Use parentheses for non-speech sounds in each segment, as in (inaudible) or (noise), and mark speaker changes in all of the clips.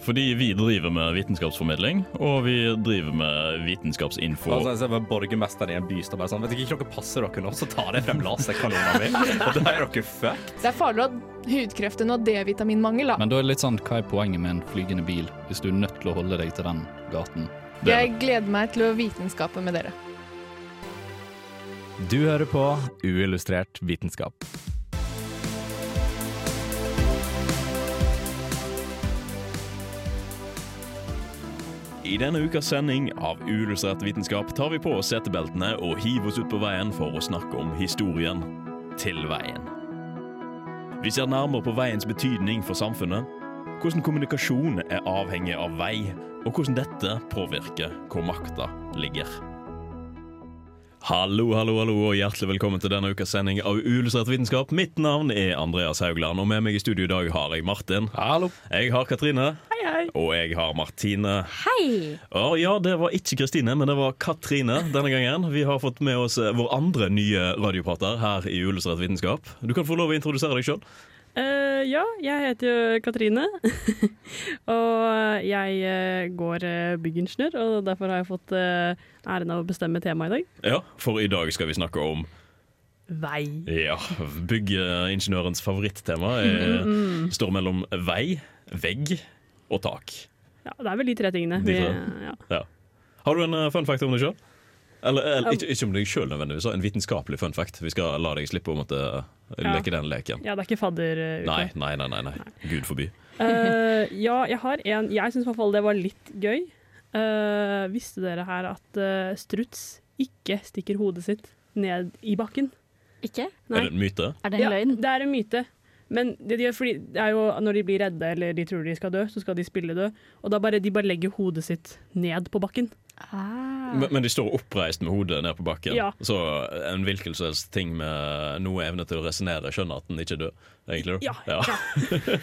Speaker 1: Fordi vi driver med vitenskapsformidling, og vi driver med vitenskapsinfo.
Speaker 2: Altså, jeg ser bare Borgermesteren i en by står bare sånn Vet dere ikke dere passer dere nå, så tar jeg frem laserkanona mi. Og da er dere fucked.
Speaker 3: Det er farligere å ha hudkreft enn å ha D-vitaminmangel, da.
Speaker 4: Men da er det litt sånn, hva er poenget med en flygende bil hvis du er nødt til å holde deg til den gaten?
Speaker 1: Det er-
Speaker 3: Jeg gleder meg til å vitenskape med dere.
Speaker 2: Du hører på Uillustrert vitenskap.
Speaker 1: I denne ukas sending av Uillustrert vitenskap tar vi på oss setebeltene og hiver oss ut på veien for å snakke om historien til veien. Vi ser nærmere på veiens betydning for samfunnet, hvordan kommunikasjon er avhengig av vei, og hvordan dette påvirker hvor makta ligger. Hallo, hallo, hallo, og hjertelig velkommen til denne ukas sending av Uillustrert vitenskap. Mitt navn er Andreas Haugland, og med meg i studio i dag har jeg Martin.
Speaker 4: Hallo.
Speaker 1: Jeg har Katrine. Og jeg har Martine. Å, ja, det var ikke Kristine, men det var Katrine denne gangen. Vi har fått med oss eh, vår andre nye radioprater her i Uillustrert vitenskap. Du kan få lov å introdusere deg sjøl.
Speaker 5: Eh, ja, jeg heter jo Katrine, og jeg eh, går eh, byggingeniør, og derfor har jeg fått eh, æren av å bestemme temaet i dag.
Speaker 1: Ja, for i dag skal vi snakke om
Speaker 5: Vei.
Speaker 1: ja, byggeingeniørens favorittema. Er,
Speaker 5: Mm-hmm.
Speaker 1: står mellom vei, vegg og tak.
Speaker 5: Ja, det er vel de tre tingene.
Speaker 1: De
Speaker 5: vi-
Speaker 1: tre.
Speaker 5: ja.
Speaker 1: Ja. Har du en eh, fun fact om deg sjøl? Eller, eller ikke, ikke om deg sjøl, nødvendigvis. En vitenskapelig fun fact. Vi skal la deg slippe å måtte eh,
Speaker 5: Ja.
Speaker 1: leke den leken.
Speaker 5: ja, det er ikke fadder eh, ute.
Speaker 1: Nei, nei, nei, nei, nei. Gud forby.
Speaker 5: Eh, ja, jeg har en Jeg syns i hvert fall det var litt gøy. Eh, visste dere her at eh, struts ikke stikker hodet sitt ned i bakken?
Speaker 6: Ikke?
Speaker 5: Nei.
Speaker 1: Er det en myte?
Speaker 6: Er det en løgn?
Speaker 5: Det er en myte. Men det de gjør, fordi det er jo når de blir redde eller de tror de skal dø, så skal de spille død. Og da bare de bare legger hodet sitt ned på bakken.
Speaker 6: Ah.
Speaker 1: Men, men de står oppreist med hodet ned på bakken.
Speaker 5: Ja.
Speaker 1: Så en hvilken som helst ting med noe evne til å resonnere skjønner at den ikke dør. Egentlig. da.
Speaker 5: Ja,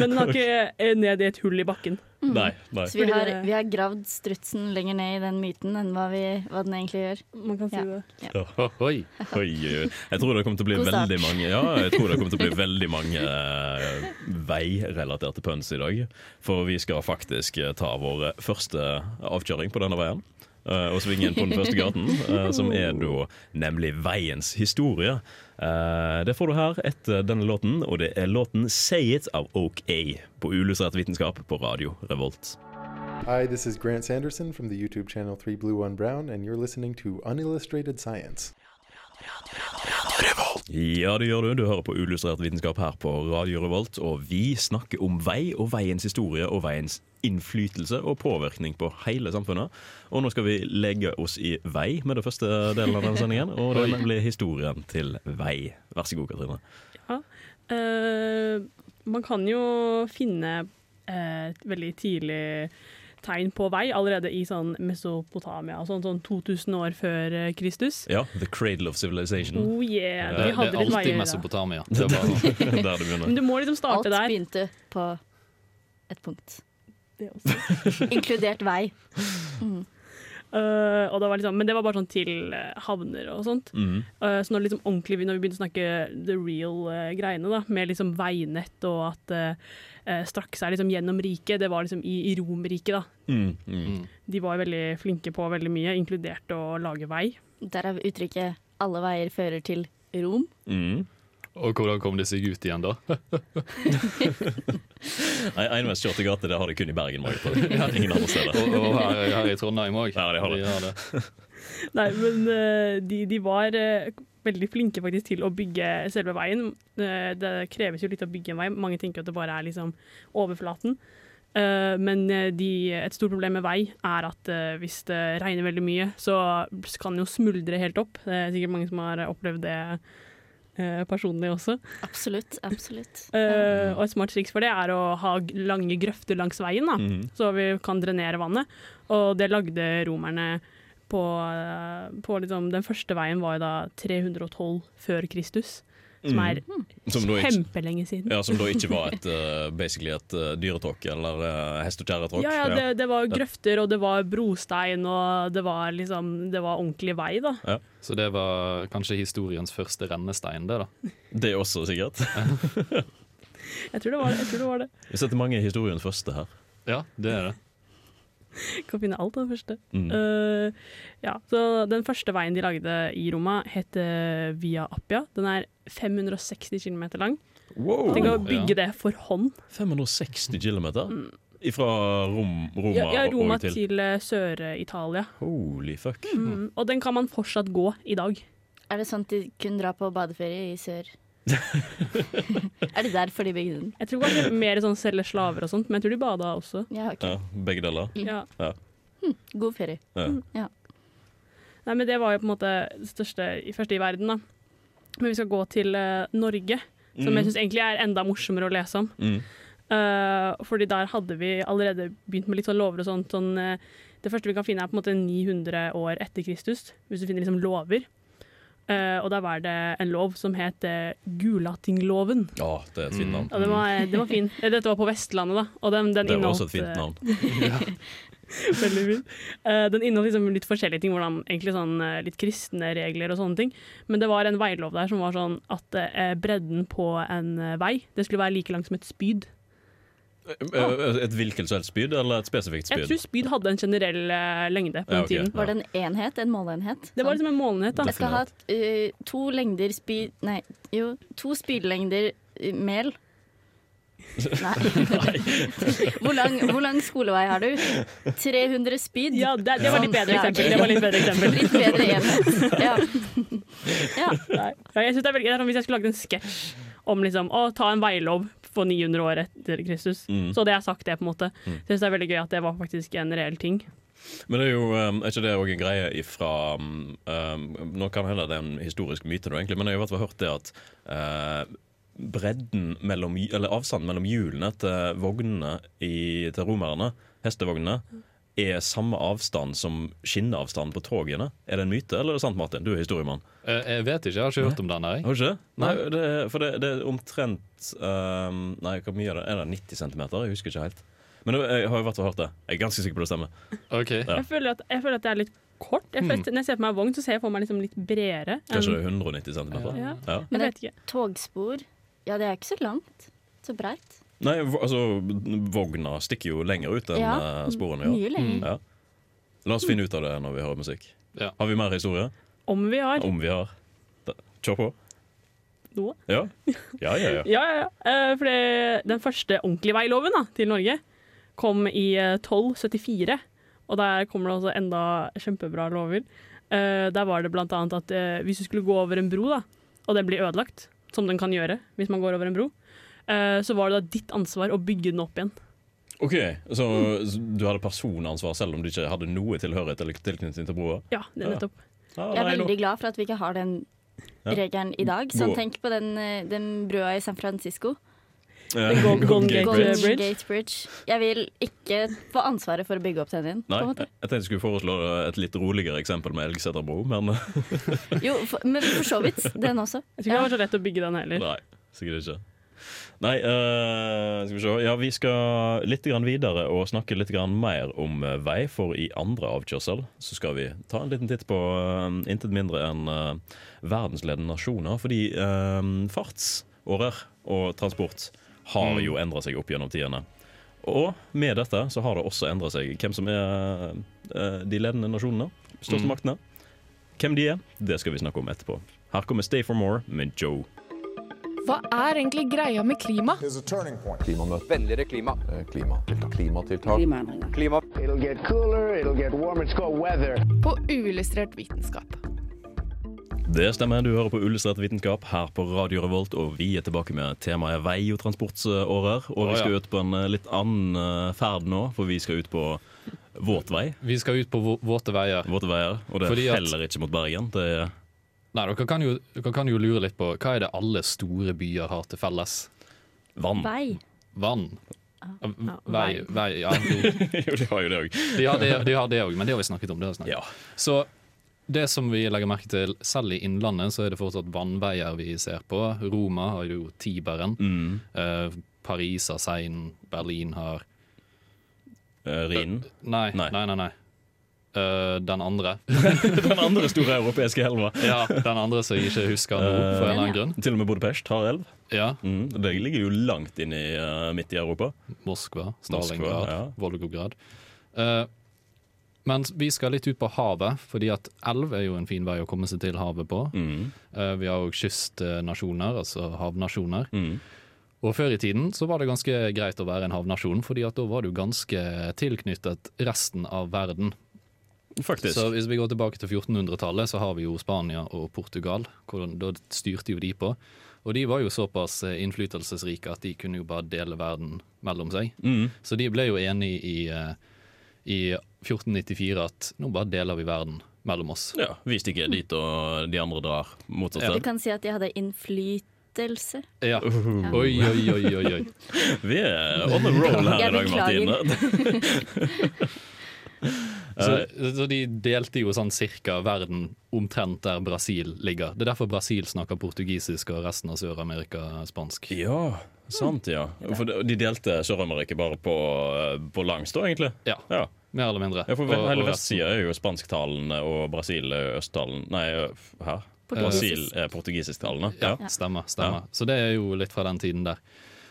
Speaker 5: Men den har ikke eh, ned i et hull i bakken.
Speaker 1: Nei, nei.
Speaker 6: Så vi
Speaker 5: Fordi
Speaker 6: har,
Speaker 5: det-
Speaker 6: vi har gravd strutsen lenger ned i den myten enn hva, vi, hva den egentlig gjør.
Speaker 5: Man kan si
Speaker 6: Ja.
Speaker 5: det.
Speaker 4: Ohoi.
Speaker 1: (laughs) Oi, oi, oi. jeg tror det kommer til å bli
Speaker 6: God start.
Speaker 1: veldig mange Ja, jeg tror det kommer til å
Speaker 6: (laughs)
Speaker 1: bli veldig mange eh, veirelaterte pønsk i dag. For vi skal faktisk eh, ta vår første avkjøring på denne veien. eh, og svinge inn på den første gaten, eh, som er da nemlig veiens historie. Eh, det får du her etter denne låten, og det er låten 'Say It' av Oak A på Ulystrert vitenskap på Radio Revolt.
Speaker 7: Hi, this is Grant Sanderson from the YouTube channel 3 Blue 1 Brown, and you're listening to Unillustrated Science.
Speaker 1: Ja, det gjør du. Du hører på Ulystrert vitenskap her på Radio Revolt, og vi snakker om vei og veiens historie og veiens innflytelse og påvirkning på hele samfunnet. Og nå skal vi legge oss i vei med det første delen av denne sendingen, og det er nemlig historien til vei. Vær så god, Katrine.
Speaker 5: Eh, man kan jo finne eh, et veldig tidlig tegn på vei allerede i sånn Mesopotamia, og sånn, sånn 2000 år før eh, Kristus.
Speaker 1: Ja, The Cradle of Civilization.
Speaker 5: Oh yeah,
Speaker 4: Det,
Speaker 5: de
Speaker 4: det
Speaker 5: hadde
Speaker 4: er
Speaker 5: litt
Speaker 4: alltid
Speaker 5: veier da.
Speaker 4: Mesopotamia. Det er bare
Speaker 1: (laughs)
Speaker 4: sånn.
Speaker 1: Der det begynner.
Speaker 5: Men du må liksom
Speaker 6: Alt
Speaker 5: starte der.
Speaker 6: begynte på et (laughs) punkt.
Speaker 5: Det også.
Speaker 6: Inkludert vei.
Speaker 5: Eh, og det var liksom, men det var bare sånn til eh, havner og sånt.
Speaker 1: Mhm.
Speaker 5: Eh, så når, det liksom ordentlig, når vi begynte å snakke the real eh, greiene, da, med liksom veinett og at eh, eh, strakk seg liksom gjennom riket, det var liksom i, i Romerriket, da.
Speaker 1: Mm, mm.
Speaker 5: De var veldig flinke på veldig mye, inkludert å lage vei.
Speaker 6: Derav uttrykket 'alle veier fører til Rom'.
Speaker 1: Mm.
Speaker 4: Og hvordan kom de seg ut
Speaker 1: (laughs)
Speaker 4: igjen, da?
Speaker 1: Nei, Enveiskjørte gater det har de kun i Bergen. Margit.
Speaker 5: (laughs)
Speaker 1: Ingen andre steder.
Speaker 4: Og, og her, her i Trondheim òg.
Speaker 1: Ja, de har det.
Speaker 5: Nei, men eh, de, de var eh, veldig flinke faktisk til å bygge selve veien. Eh, det kreves jo litt å bygge en vei. Mange tenker at det bare er liksom overflaten. Eh, men eh, de, et stort problem med vei er at eh, hvis det regner veldig mye, så kan den jo smuldre helt opp. Det er sikkert mange som har opplevd det eh, personlig også.
Speaker 6: Absolutt.
Speaker 1: (laughs)
Speaker 6: absolutt.
Speaker 5: Eh, og et smart triks for det er å ha g- lange grøfter langs veien, da,
Speaker 1: Mm,
Speaker 5: så vi kan drenere vannet. Og det lagde romerne på, eh, på liksom, Den første veien var jo da 312 før Kristus, som er
Speaker 1: Mm, Som da ikke,
Speaker 5: kjempelenge siden.
Speaker 1: ja, som da ikke var et, eh, basically et uh, dyretråkk eller eh, hest- og
Speaker 5: Ja,
Speaker 1: kjerretråkk.
Speaker 5: ja, det, det var grøfter, og det var brostein, og det var liksom Det var ordentlig vei, da.
Speaker 4: Så det var kanskje historiens første rennestein, det, da.
Speaker 1: det også, sikkert.
Speaker 5: Jeg tror det var det. jeg tror det var det.
Speaker 1: Vi setter mange i historiens første her.
Speaker 4: Ja, det er det.
Speaker 5: Kan finne alt av den første.
Speaker 1: Mm.
Speaker 5: Eh, ja, så Den første veien de lagde i Roma, het eh, Via Appia. Den er 560 km lang.
Speaker 1: Wow!
Speaker 5: Tenk å
Speaker 4: ja.
Speaker 5: bygge det for hånd.
Speaker 1: 560 kilometer Fra Rom, Roma,
Speaker 5: Mm. Ja, ja, Roma
Speaker 1: og til
Speaker 5: til eh, Sør-Italia.
Speaker 1: Holy fuck.
Speaker 5: Mm. Og den kan man fortsatt gå i dag.
Speaker 6: Er det sånn at de kunne dra på badeferie i
Speaker 1: (laughs)
Speaker 6: sør? (laughs) er det derfor de bygde den?
Speaker 5: Jeg tror
Speaker 1: (laughs)
Speaker 5: kanskje mer sånn selge slaver og sånt, men jeg tror de bada også.
Speaker 6: Ja, ok.
Speaker 1: Ja, begge deler.
Speaker 5: Ja.
Speaker 6: God ferie.
Speaker 1: Ja.
Speaker 5: Mm. Nei, men det var jo på en måte det største, første i verden, da. Men vi skal gå til eh, Norge, som jeg syns egentlig er enda morsommere å lese om.
Speaker 1: Mm.
Speaker 5: Eh, fordi der hadde vi allerede begynt med litt sånn lover og sånt. Sånn, eh, det første vi kan finne, er på en måte 900 år etter Kristus, hvis du finner liksom lover. Eh, og der var det en lov som het eh, Gulatingloven.
Speaker 1: Ja, det er et fint navn.
Speaker 5: Og den var, den var fin. Eh, Dette var på Vestlandet, da. Og den, den
Speaker 1: Det var
Speaker 5: inneholdt,
Speaker 1: også et fint
Speaker 5: eh,
Speaker 1: navn.
Speaker 5: Veldig fin. Eh, den inneholdt liksom litt forskjellige ting, hvordan egentlig sånn eh, litt kristne regler og sånne ting. Men det var en veilov der som var sånn at eh, bredden på en eh, vei, det skulle være like lang som et spyd.
Speaker 1: Eh, Et hvilket som helst spyd, eller et spesifikt
Speaker 5: Jeg
Speaker 1: spyd?
Speaker 5: tror spyd hadde en generell eh, lengde på den
Speaker 1: Ja, ok.
Speaker 5: tiden.
Speaker 6: Var det en enhet? En måleenhet?
Speaker 5: Det var
Speaker 6: Sånn.
Speaker 5: liksom en målenhet, da.
Speaker 6: Jeg skal ha eh, to lengder spyd... Nei, jo, to spydlengder eh, mel. Nei. (laughs) hvor, lang, hvor lang skolevei har du? 300 spyd?
Speaker 5: Ja, det, det var litt bedre eksempel. Det var litt bedre eksempel.
Speaker 6: Litt bedre enhet. Ja. ja.
Speaker 5: Nei. Ja, Jeg synes det er veldig, det er sånn hvis jeg skulle lagd en sketsj om liksom, å ta en veilov for 900 år etter Kristus,
Speaker 1: Mm.
Speaker 5: så hadde jeg sagt det. på en måte. Jeg synes det er veldig gøy at det var faktisk en reell ting.
Speaker 1: Men det er jo eh, er ikke det òg en greie ifra eh, Nå kan hende det er en historisk myte, nå, egentlig, men jeg har i hvert fall hørt det at eh, bredden mellom Eller avstanden mellom hjulene til vognene i, til romerne, hestevognene, er samme avstand som skinneavstanden på togene. Er det en myte, eller er det sant, Martin? Du er historiemann.
Speaker 4: Eh, Jeg vet ikke, jeg har ikke hørt om den. her, jeg.
Speaker 1: Har du ikke det? Nei, det, er- for det, det er omtrent ehm, Nei, hvor mye er det? Er det 90 cm? Jeg husker ikke helt. Men jeg har i hvert fall hørt det. Jeg er ganske sikker på det stemmer.
Speaker 4: Ok,
Speaker 1: Ja. Mm.
Speaker 5: Jeg føler, at, jeg føler at det er litt kort. Jeg føler, Når jeg ser på meg en vogn, så ser jeg for meg liksom litt bredere. enn-
Speaker 1: Kanskje det er 190 cm?
Speaker 5: Ja.
Speaker 1: Ja.
Speaker 5: Jeg vet ikke.
Speaker 6: Togspor. Ja, det er ikke så langt. Så breit.
Speaker 1: Nei, v- altså, vogna stikker jo lenger ut enn
Speaker 6: Ja.
Speaker 1: eh, sporene gjør.
Speaker 6: Mye
Speaker 4: Mm.
Speaker 6: lenger.
Speaker 1: Ja. La oss finne ut av det når vi hører musikk.
Speaker 4: Ja.
Speaker 1: Har vi mer historie?
Speaker 5: Om vi har
Speaker 1: Om vi har. Da- Kjør på.
Speaker 5: noe.
Speaker 6: (laughs)
Speaker 1: Ja, ja, ja. ja.
Speaker 5: Ja, ja, ja. Eh, For det, den første ordentlige veiloven da, til Norge kom i eh, 1274. Og der kommer det også enda kjempebra lover. Eh, Der var det blant annet at eh, hvis du skulle gå over en bro, da, og den blir ødelagt, som den kan gjøre hvis man går over en bro, eh, så var det da ditt ansvar å bygge den opp igjen.
Speaker 1: OK, så så du hadde personansvar selv om du ikke hadde noe tilhørighet eller tilknytning til broa?
Speaker 5: Ja, det er
Speaker 1: Ja.
Speaker 5: nettopp.
Speaker 1: Ah,
Speaker 6: Jeg er
Speaker 1: nei, nå-
Speaker 6: veldig glad for at vi ikke har den regelen i dag. Så
Speaker 1: God.
Speaker 6: tenk på den, eh, den brua i San Francisco.
Speaker 1: Ja.
Speaker 5: Golden
Speaker 1: (laughs) Golden
Speaker 5: Gate Bridge.
Speaker 6: Golden
Speaker 5: Bridge.
Speaker 6: Gate Bridge. Jeg vil ikke få ansvaret for å bygge opp den igjen.
Speaker 1: Nei,
Speaker 6: på en
Speaker 1: jeg
Speaker 6: måte.
Speaker 1: tenkte jeg skulle foreslå et litt roligere eksempel med Elgseter bro, men
Speaker 6: Jo, for, men for så vidt. Den også.
Speaker 5: Jeg tror ikke det var så lett å bygge den heller.
Speaker 1: nei, sikkert ikke. Nei, eh, skal vi se. Ja, vi skal litt grann videre og snakke litt grann mer om eh, vei, for i andre avkjørsel så skal vi ta en liten titt på eh, intet mindre enn eh, verdensledende nasjoner, fordi eh, fartsårer og transport har jo endra seg opp gjennom tidene. Og med dette så har det også endra seg hvem som er eh, de ledende nasjonene, største maktene. Hvem de er, det skal vi snakke om etterpå. Her kommer Stay for More med Joe.
Speaker 3: Hva er egentlig greia med klima?
Speaker 8: Klimamøte. Vennligere klima. Klimatiltak. Klimatiltak. Klima.
Speaker 9: It'll get cooler, it'll get warmer, it's called weather.
Speaker 3: På uillustrert vitenskap.
Speaker 1: Det stemmer, du hører på Ullustrert vitenskap her på Radio Revolt, og vi er tilbake med temaet vei og transportårer. Og vi
Speaker 4: Å,
Speaker 1: skal
Speaker 4: ja.
Speaker 1: ut på en eh, litt annen eh, ferd nå, for vi skal ut på våt vei.
Speaker 4: Vi skal ut på vå- våte veier.
Speaker 1: Våte veier, og det
Speaker 4: Fordi at-
Speaker 1: heller ikke mot Bergen. Det er
Speaker 4: Nei, dere kan, jo, dere kan jo lure litt på hva er det alle store byer har til felles?
Speaker 1: vann.
Speaker 6: Vei.
Speaker 4: Vann. Vei,
Speaker 5: Ah, vei.
Speaker 4: vei ja, de,
Speaker 1: (laughs) jo, det har jo det òg.
Speaker 4: de har det- de har det òg, men det har vi snakket om. Det har vi snakket.
Speaker 1: Ja.
Speaker 4: om. Så det som vi legger merke til, selv i Innlandet, så er det fortsatt vannveier vi ser på. Roma har jo Tiberen.
Speaker 1: Mm.
Speaker 4: Eh, Paris har Seinen. Berlin har
Speaker 1: Eh, Rhinen.
Speaker 4: Nei,
Speaker 1: Nei.
Speaker 4: nei, nei. nei. Eh, den andre.
Speaker 1: Den andre store europeiske elva.
Speaker 4: Ja, den andre som jeg ikke husker nå,
Speaker 1: Eh.
Speaker 4: for en eller annen grunn.
Speaker 1: Til og med Budapest har elv.
Speaker 4: Ja,
Speaker 1: Mm. Det ligger jo langt inn i eh, midt i Europa.
Speaker 4: Moskva,
Speaker 1: Moskva,
Speaker 4: Stalingrad,
Speaker 1: ja.
Speaker 4: Volgograd. Eh, men vi skal litt ut på havet, fordi at elv er jo en fin vei å komme seg til havet på.
Speaker 1: Mm.
Speaker 4: Eh, vi har jo kystnasjoner, altså havnasjoner.
Speaker 1: Mm.
Speaker 4: Og før i tiden så var det ganske greit å være en havnasjon, fordi at da var du ganske tilknyttet resten av verden.
Speaker 1: Faktisk.
Speaker 4: Så hvis vi går tilbake til 1400-tallet, så har vi jo Spania og Portugal. Hvor, da styrte jo de på. Og de var jo såpass eh, innflytelsesrike at de kunne jo bare dele verden mellom seg.
Speaker 1: Mm.
Speaker 4: Så de ble jo enige i, eh, i 1494 at nå bare deler vi verden mellom oss.
Speaker 1: Ja, Vi stikker dit, og de andre drar motsatt
Speaker 6: Vi
Speaker 1: sted.
Speaker 6: kan si at de hadde innflytelse.
Speaker 4: Ja.
Speaker 1: Uh.
Speaker 4: Oi, oi, oi, oi.
Speaker 1: (laughs)
Speaker 4: oi.
Speaker 1: Vi er on the roll her i
Speaker 6: Jeg
Speaker 1: dag, Martine.
Speaker 4: Så,
Speaker 1: Eh.
Speaker 4: så de delte jo sånn cirka verden omtrent der Brasil ligger. Det er derfor Brasil snakker portugisisk og resten av Sør-Amerika spansk.
Speaker 1: Ja, sant, ja. For de de delte Sør-Amerika bare på, på langs, da, egentlig.
Speaker 4: Ja,
Speaker 1: Ja.
Speaker 4: mer eller mindre.
Speaker 1: Ja, for
Speaker 4: Og-
Speaker 1: Hele
Speaker 4: og resten-
Speaker 1: vestsida er jo spansktalende, og Brasil er jo østtalende Nei, f- hæ? Brasil er portugisisktalende. Ja.
Speaker 4: Eh, Ja, stemmer. stemmer. Så det er jo litt fra den tiden der.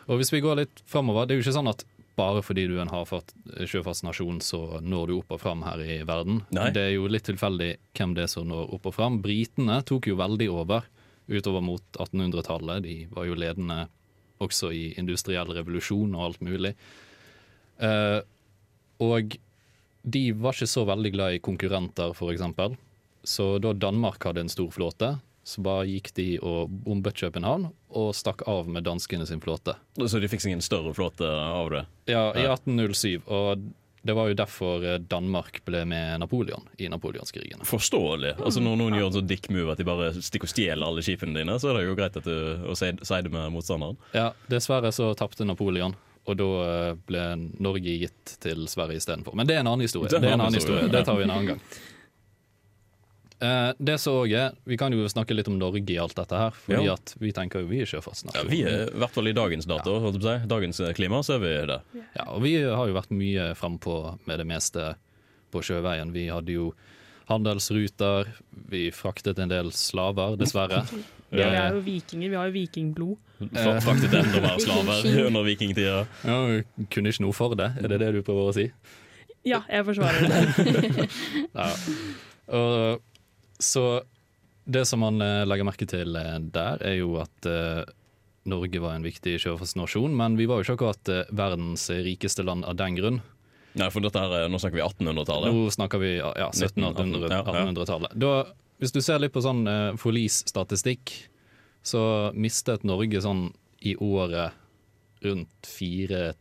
Speaker 4: Og hvis vi går litt framover, det er jo ikke sånn at bare fordi du er en havfart, sjøfartsnasjon, så når du opp og fram her i verden.
Speaker 1: Nei.
Speaker 4: Det er jo litt tilfeldig hvem det er som når opp og fram. Britene tok jo veldig over utover mot 1800-tallet. De var jo ledende også i industriell revolusjon og alt mulig. Eh, og de var ikke så veldig glad i konkurrenter, f.eks. Så da Danmark hadde en stor flåte, så bare gikk de og bombet København og stakk av med danskene sin flåte.
Speaker 1: Så de fikk seg en større flåte av det.
Speaker 4: Ja, i 1807. Og det var jo derfor eh, Danmark ble med Napoleon i napoleonskrigene.
Speaker 1: Forståelig. Altså Når
Speaker 4: Mm.
Speaker 1: noen gjør en sånn dick move at de bare stikker og stjeler alle skipene dine, så er det jo greit at du å si, si det med motstanderen.
Speaker 4: Ja, dessverre så tapte Napoleon. Og da eh, ble Norge gitt til Sverige istedenfor. Men det er en annen historie. Det, er en annen historie. det tar vi en (laughs) annen gang. Eh, det så også er, Vi kan jo snakke litt om Norge i alt dette her, fordi
Speaker 1: Ja.
Speaker 4: at vi tenker jo vi er
Speaker 1: Ja,
Speaker 4: sjøfartsnasjon.
Speaker 1: vi er i hvert fall i dagens dato, holdt jeg på å si. Dagens eh, klima, så er vi det.
Speaker 4: Ja, og vi har jo vært mye frempå med det meste på sjøveien. Vi hadde jo handelsruter, vi fraktet en del slaver, dessverre.
Speaker 5: Vi er- vi er jo vikinger, vi har jo vikingblod.
Speaker 4: Eh.
Speaker 1: Fra- Fraktet enda
Speaker 4: (laughs)
Speaker 1: mer slaver
Speaker 6: Vikingskip.
Speaker 1: under vikingtida.
Speaker 4: Ja, vi kunne ikke noe for det, er det det du prøver å si?
Speaker 5: Ja, jeg forsvarer det. (laughs)
Speaker 4: Ja. Og, så det som man eh, legger merke til eh, der, er jo at eh, Norge var en viktig sjøfartsnasjon, men vi var jo ikke akkurat eh, verdens rikeste land av den grunn.
Speaker 1: Nei, for dette her, er- nå snakker vi 1800-tallet.
Speaker 4: Nå snakker vi ja,
Speaker 1: 1800, ja, ja.
Speaker 4: 1700-1800-tallet. Hvis du ser litt på sånn eh, forlisstatistikk, så mistet Norge sånn i året rundt fire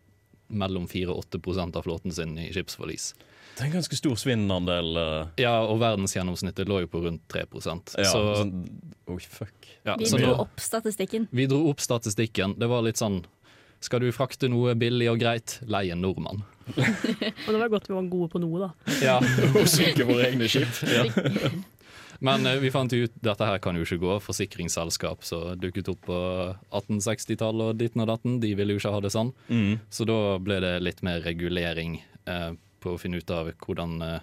Speaker 4: mellom 4 og 8 prosent av flåten sin i skipsforlis.
Speaker 1: Det er en ganske stor svinnandel. eh,
Speaker 4: Ja, og verdensgjennomsnittet lå jo på rundt 3 prosent.
Speaker 1: Ja,
Speaker 4: så,
Speaker 1: sånn- Oi, fuck.
Speaker 4: ja,
Speaker 6: Vi
Speaker 4: så
Speaker 6: dro
Speaker 4: nå-
Speaker 6: opp statistikken.
Speaker 4: vi dro opp statistikken. Det var litt sånn Skal du frakte noe billig og greit, lei en nordmann.
Speaker 5: Og det var godt vi var gode på noe, da.
Speaker 4: Ja,
Speaker 1: Og synke våre egne skip. Ja.
Speaker 4: Men eh, vi fant jo ut dette her kan jo ikke gå. Forsikringsselskap som dukket opp på 1860-tallet og ditten og datten, de ville jo ikke ha det sånn. Så da ble det litt mer regulering eh, på å finne ut av hvordan, eh,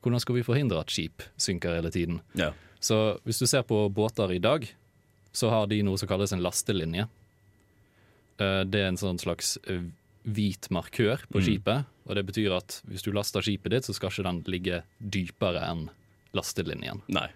Speaker 4: hvordan skal vi forhindre at skip synker hele tiden.
Speaker 1: Ja.
Speaker 4: Så hvis du ser på båter i dag, så har de noe som kalles en lastelinje. Eh, Det er en sånn slags eh, hvit markør på skipet, og det betyr at hvis du laster skipet ditt, så skal ikke den ligge dypere enn lastelinjen.
Speaker 1: Nei.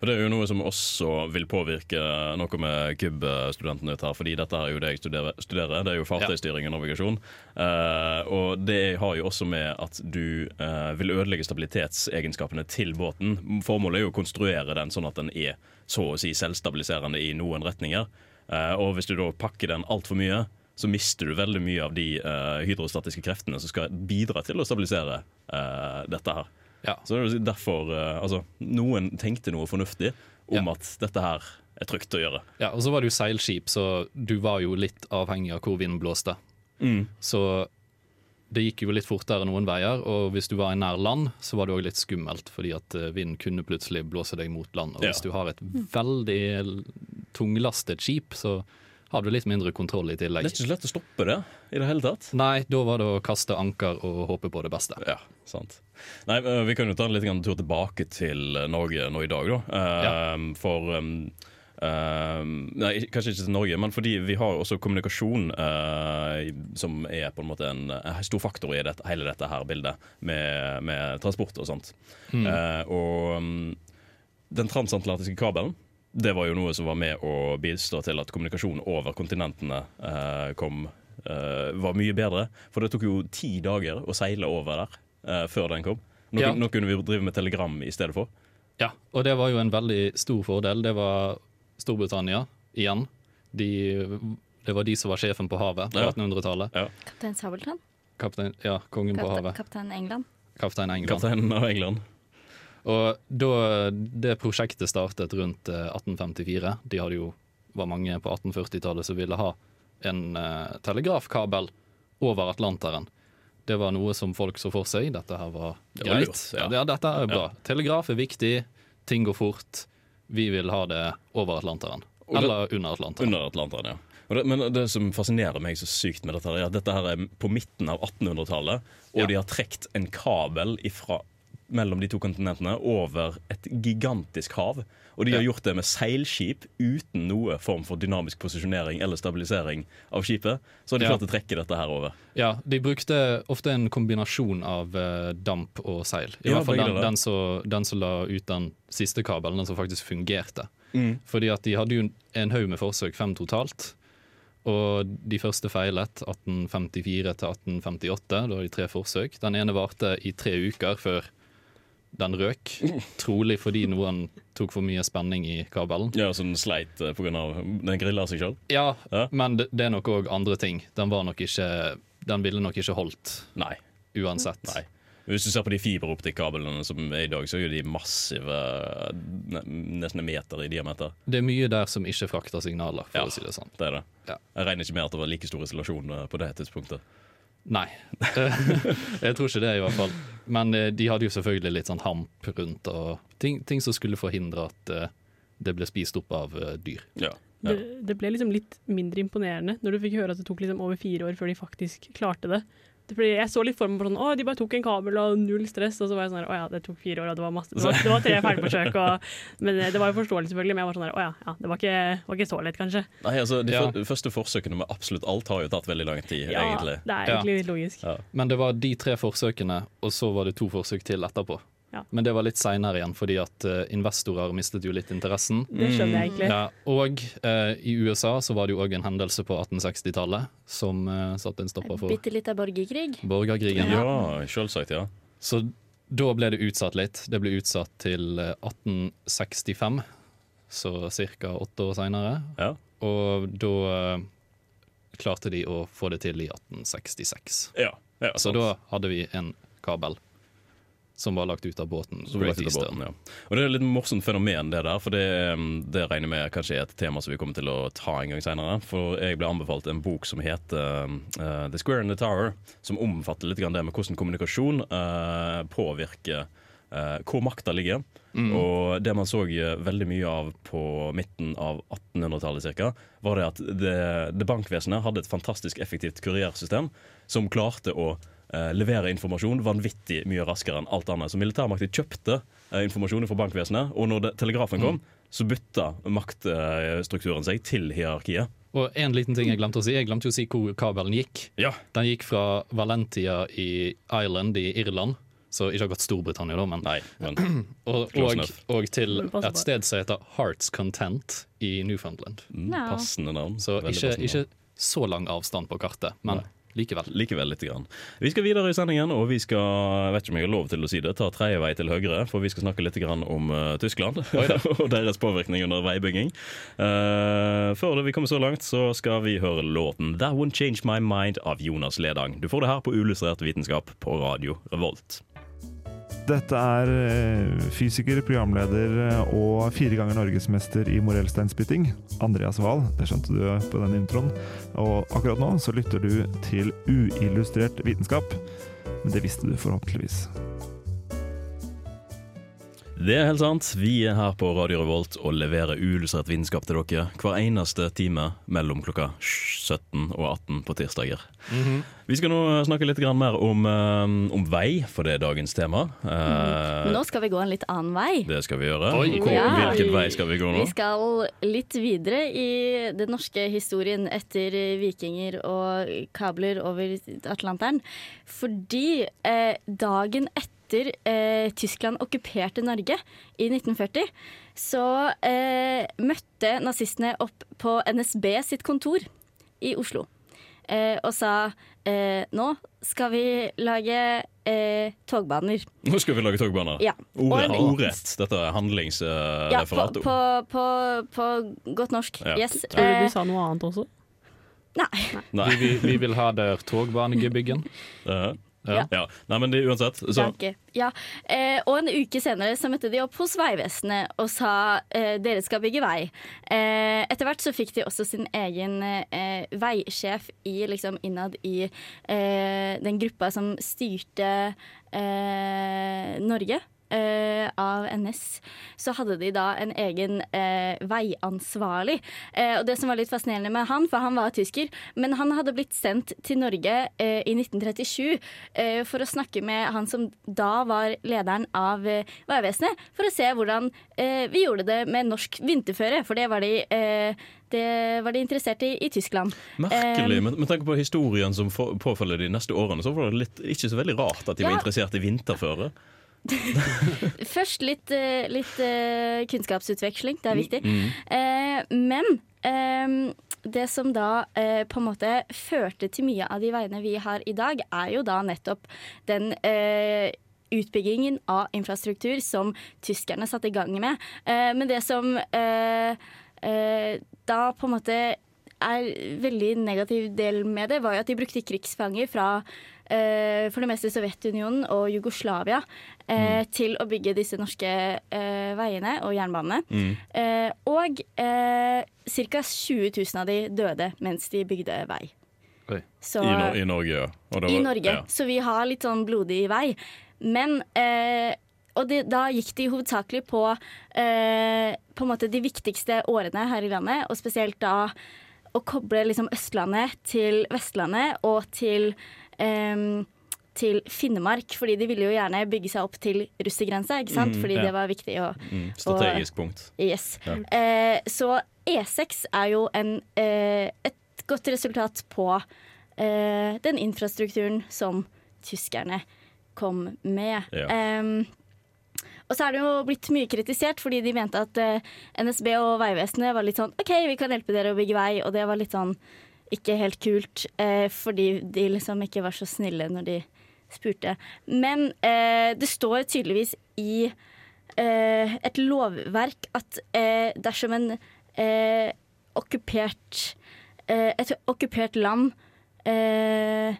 Speaker 1: Og Det er jo noe som også vil påvirke noe med KUB-studentene ut her, fordi dette er jo det jeg studerer. studerer. Det er jo fartøystyring og navigasjon. Eh, og det har jo også med at du eh, vil ødelegge stabilitetsegenskapene til båten. Formålet er jo å konstruere den sånn at den er så å si selvstabiliserende i noen retninger. Eh, og hvis du da pakker den altfor mye, så mister du veldig mye av de eh, hydrostatiske kreftene som skal bidra til å stabilisere eh, dette her.
Speaker 4: Ja.
Speaker 1: Så det er jo derfor eh, altså, Noen tenkte noe fornuftig om
Speaker 4: Ja.
Speaker 1: at dette her er trygt å gjøre.
Speaker 4: ja, og så var det jo seilskip, så du var jo litt avhengig av hvor vinden blåste.
Speaker 1: Mm.
Speaker 4: Så det gikk jo litt fortere noen veier, og hvis du var i nær land, så var det òg litt skummelt, fordi at eh, vinden kunne plutselig blåse deg mot land. Og
Speaker 1: Ja.
Speaker 4: hvis du har et veldig tunglastet skip, så har du litt mindre kontroll i
Speaker 1: Det er
Speaker 4: tillegg.
Speaker 1: ikke så lett å stoppe det i det hele tatt.
Speaker 4: Nei, da var det å kaste anker og håpe på det beste.
Speaker 1: Ja, sant. Nei, eh, Vi kan jo ta en liten tur tilbake til eh, Norge nå i dag, da. Eh, For em, em, Ehm, Nei, ikke- kanskje ikke til Norge, men fordi vi har også kommunikasjon eh, i- som er på en måte en, eh, stor faktor i dette, hele dette her bildet, med, med transport og sånt. Eh, og em, den transatlantiske kabelen det var jo noe som var med å bistå til at kommunikasjon over kontinentene eh, kom, eh, var mye bedre. For det tok jo ti dager å seile over der eh, før den kom. Nå,
Speaker 4: Ja.
Speaker 1: nå kunne vi jo drive med telegram i stedet for.
Speaker 4: Ja, og det var jo en veldig stor fordel. Det var Storbritannia igjen. De, det var de som var sjefen på havet på
Speaker 1: Ja.
Speaker 4: 1800-tallet.
Speaker 6: Kaptein Sabeltann?
Speaker 4: Kaptein, ja, kongen på
Speaker 6: Kapte-
Speaker 4: havet.
Speaker 6: Kaptein England?
Speaker 4: Kaptein England.
Speaker 1: Kapteinen av England.
Speaker 4: Og da det prosjektet startet rundt eh, 1854, de hadde jo, var mange på 1840-tallet som ville ha en eh, telegrafkabel over Atlanteren. Det var noe som folk så for seg. Dette her var
Speaker 1: Det var
Speaker 4: greit.
Speaker 1: lurt,
Speaker 4: ja.
Speaker 1: ja.
Speaker 4: dette er bra. Telegraf er viktig, ting går fort. Vi vil ha det over Atlanteren.
Speaker 1: Og det-
Speaker 4: Eller under Atlanteren.
Speaker 1: Under Atlanteren, ja. Og det, men det som fascinerer meg så sykt med dette, her, er at dette her er på midten av 1800-tallet, og
Speaker 4: Ja.
Speaker 1: de har trukket en kabel ifra, mellom de to kontinentene over et gigantisk hav. Og de har
Speaker 4: Ja.
Speaker 1: gjort det med seilskip uten noe form for dynamisk posisjonering eller stabilisering av skipet. Så har de
Speaker 4: Ja.
Speaker 1: klart å trekke dette her over.
Speaker 4: Ja, De brukte ofte en kombinasjon av eh, damp og seil. I
Speaker 1: Ja,
Speaker 4: hvert fall
Speaker 1: begge
Speaker 4: den,
Speaker 1: deler.
Speaker 4: den, som, den som la ut den siste kabelen, den som faktisk fungerte.
Speaker 1: Mm.
Speaker 4: Fordi at de hadde jo en haug med forsøk, fem totalt. Og de første feilet 1854 til 1858. Da var de tre forsøk. Den ene varte i tre uker før den
Speaker 1: (laughs)
Speaker 4: røk. Trolig fordi noen tok for mye spenning i kabelen.
Speaker 1: Ja, så den sleit eh, på grunn av Den grilla seg sjøl?
Speaker 4: Ja,
Speaker 1: Ja.
Speaker 4: men det, det er nok òg andre ting. Den var nok ikke Den ville nok ikke holdt
Speaker 1: Nei.
Speaker 4: uansett.
Speaker 1: Nei. Hvis du ser på de fiberoptikkablene som er i dag, så er jo de massive, eh, ne- nesten en meter i diameter.
Speaker 4: Det er mye der som ikke frakter signaler, for
Speaker 1: Ja.
Speaker 4: å si det sånn.
Speaker 1: Det er det.
Speaker 4: Ja.
Speaker 1: Jeg regner ikke med at det var like stor isolasjon eh, på det tidspunktet.
Speaker 4: Nei. (laughs) jeg tror ikke det, i hvert fall. Men eh, de hadde jo selvfølgelig litt sånn hamp rundt og ting, ting som skulle forhindre at eh, det ble spist opp av eh, dyr.
Speaker 1: Ja.
Speaker 5: Det, det ble liksom litt mindre imponerende når du fikk høre at det tok liksom over fire år før de faktisk klarte det. Det- Fordi jeg så litt for meg på sånn Å, de bare tok en kabel og null stress. Og så var jeg sånn her, Å ja, det tok fire år, og det var masse Det var, det var tre feilforsøk, og Men eh, det var jo forståelig, selvfølgelig, men jeg var sånn her Å ja, ja det var ikke, var ikke så lett, kanskje.
Speaker 1: Nei, altså, De
Speaker 4: Ja.
Speaker 1: fyr- første forsøkene med absolutt alt har jo tatt veldig lang tid,
Speaker 5: Ja,
Speaker 1: egentlig.
Speaker 5: Det er egentlig litt logisk.
Speaker 1: Ja.
Speaker 4: Men det var de tre forsøkene, og så var det to forsøk til etterpå.
Speaker 5: Ja.
Speaker 4: Men det var litt seinere igjen, fordi at eh, investorer mistet jo litt interessen.
Speaker 5: Det skjønner jeg egentlig.
Speaker 4: Ja, og eh, i USA så var det jo òg en hendelse på 1860-tallet som eh, satte en stopper for
Speaker 6: Bitte litt av borgerkrig?
Speaker 4: borgerkrigen.
Speaker 1: Ja, selvsagt, ja.
Speaker 4: Så da ble det utsatt litt. Det ble utsatt til eh, 1865, så ca. åtte år seinere.
Speaker 1: ja.
Speaker 4: Og da eh, klarte de å få det til i 1866.
Speaker 1: ja. ja
Speaker 4: Så
Speaker 1: sant.
Speaker 4: da hadde vi en kabel som var lagt ut av båten.
Speaker 1: Så ble det
Speaker 4: Great
Speaker 1: til
Speaker 4: Eastern.
Speaker 1: båten, ja. Og Det er et litt morsomt fenomen, det der. For det, um, det regner jeg med kanskje er et tema som vi kommer til å ta en gang senere. For jeg ble anbefalt en bok som heter um, uh, The Square and the Tower, som omfatter litt grann det med hvordan kommunikasjon uh, påvirker uh, hvor makta ligger. Og det man så uh, veldig mye av på midten av 1800-tallet ca., var det at det, det bankvesenet hadde et fantastisk effektivt kuriersystem som klarte å eh, levere informasjon vanvittig mye raskere enn alt annet. Så militærmakten kjøpte eh, informasjon fra bankvesenet, og når det, telegrafen kom, så bytta maktstrukturen seg til hierarkiet.
Speaker 4: Og en liten ting jeg glemte å si. Jeg glemte jo å si hvor kabelen gikk.
Speaker 1: Ja,
Speaker 4: Den gikk fra Valentia i Ireland i Irland, så ikke akkurat Storbritannia, da, men
Speaker 1: nei, men
Speaker 4: og,
Speaker 1: Close
Speaker 4: og,
Speaker 1: enough.
Speaker 4: og til
Speaker 5: Men pass på.
Speaker 4: et sted som heter Hearts Content i Newfoundland.
Speaker 6: Ja.
Speaker 1: passende navn.
Speaker 4: Så
Speaker 1: Veldig
Speaker 4: ikke,
Speaker 1: passende
Speaker 4: ikke
Speaker 1: navn.
Speaker 4: så lang avstand på kartet, men likevel.
Speaker 1: Likevel lite grann. Vi skal videre i sendingen, og vi skal jeg vet ikke om jeg har lov til å si det, ta tredje vei til høyre, for vi skal snakke litt grann om eh, Tyskland (laughs) og deres påvirkning under veibygging. Eh, før det vi kommer så langt, så skal vi høre låten 'That Won't Change My Mind' av Jonas Ledang. Du får det her på Ullustrert vitenskap på radio Revolt.
Speaker 10: Dette er eh, fysiker, programleder eh, og fire ganger norgesmester i morellsteinspytting, Andreas Wahl. Det skjønte du på den introen. Og akkurat nå så lytter du til uillustrert vitenskap. Men det visste du forhåpentligvis.
Speaker 1: Det er helt sant. Vi er her på Radio Revolt og leverer uillustrert vitenskap til dere hver eneste time mellom klokka 17 og 18 på tirsdager.
Speaker 4: Mhm.
Speaker 1: Vi skal nå snakke litt grann mer om, eh, om vei, for det er dagens tema. Eh,
Speaker 6: Mhm. Nå skal vi gå en litt annen vei.
Speaker 1: Det skal vi gjøre.
Speaker 4: Oi.
Speaker 1: Hvor,
Speaker 6: Ja.
Speaker 1: Hvilken vei skal vi gå
Speaker 6: Vi
Speaker 1: nå?
Speaker 6: skal litt videre i den norske historien etter vikinger og kabler over Atlanteren. Fordi eh, dagen etter eh, Tyskland okkuperte Norge i 1940, så eh, møtte nazistene opp på NSB sitt kontor i Oslo eh, og sa eh, nå skal vi lage eh, togbaner.
Speaker 1: Nå skal vi lage togbaner.
Speaker 6: Ja.
Speaker 1: Ordrett.
Speaker 6: Og-
Speaker 1: ordrett. Dette er
Speaker 6: Ja, på,
Speaker 1: handlingsreferat.
Speaker 6: på, på, på godt norsk.
Speaker 1: Ja.
Speaker 6: Yes.
Speaker 5: Tror du
Speaker 6: eh,
Speaker 5: du sa noe annet også?
Speaker 6: Nei.
Speaker 1: Nei.
Speaker 4: Vi, vi vil ha der (laughs) togbanegebyggen.
Speaker 1: (laughs) eh,
Speaker 4: Ja.
Speaker 1: ja. Nei, men det, uansett, så
Speaker 6: Danke. Ja. Eh, og en uke senere så møtte de opp hos Vegvesenet og sa eh, dere skal bygge vei. Eh, etter hvert så fikk de også sin egen eh, veisjef i, liksom, innad i eh, den gruppa som styrte eh, Norge. eh, av NS, så hadde de da en egen eh, veiansvarlig. Eh, og det som var litt fascinerende med han, for han var tysker, men han hadde blitt sendt til Norge eh, i 1937 eh, for å snakke med han som da var lederen av eh, Vegvesenet, for å se hvordan eh, vi gjorde det med norsk vinterføre, for det var de, eh, det var de interessert i i Tyskland.
Speaker 1: merkelig.
Speaker 6: Eh,
Speaker 1: Men, men tenk på historien som for- påfølger de neste årene, så var det litt, ikke så veldig rart at de var
Speaker 6: Ja.
Speaker 1: interessert i vinterføre.
Speaker 6: Først litt, eh, litt eh, kunnskapsutveksling, det er viktig. Eh, men ehm, det som da eh, på en måte førte til mye av de veiene vi har i dag, er jo da nettopp den eh, utbyggingen av infrastruktur som tyskerne satte i gang med. Eh, men det som eh, eh, da på en måte er veldig negativ del med det, var jo at de brukte krigsfanger fra eh, for det meste Sovjetunionen og Jugoslavia eh,
Speaker 1: Mm.
Speaker 6: til å bygge disse norske eh, veiene og jernbanene.
Speaker 1: Mm.
Speaker 6: Eh, og eh, ca. 20 000 av de døde mens de bygde vei.
Speaker 4: Oi.
Speaker 6: Så,
Speaker 1: I, Nor- I Norge, ja. Og det
Speaker 6: i
Speaker 1: var-
Speaker 6: Norge,
Speaker 1: ja.
Speaker 6: så vi har litt sånn blodig vei. Men eh, Og det, da gikk de hovedsakelig på eh, på en måte de viktigste årene her i landet, og spesielt da å koble liksom Østlandet til Vestlandet og til eh, til Finnmark, fordi de ville jo gjerne bygge seg opp til russergrensa, ikke sant? Fordi
Speaker 1: ja.
Speaker 6: det var viktig å
Speaker 1: Mm, strategisk punkt.
Speaker 6: Yes. Eh, så E6 er jo en, eh, et godt resultat på eh, den infrastrukturen som tyskerne kom med.
Speaker 1: Ja.
Speaker 6: Em, og så er det jo blitt mye kritisert fordi de mente at eh, NSB og Vegvesenet var litt sånn OK, vi kan hjelpe dere å bygge vei, og det var litt sånn ikke helt kult, eh, fordi de liksom ikke var så snille når de spurte. Men eh, det står tydeligvis i eh, et lovverk at eh, dersom en eh, okkupert eh, et okkupert land eh,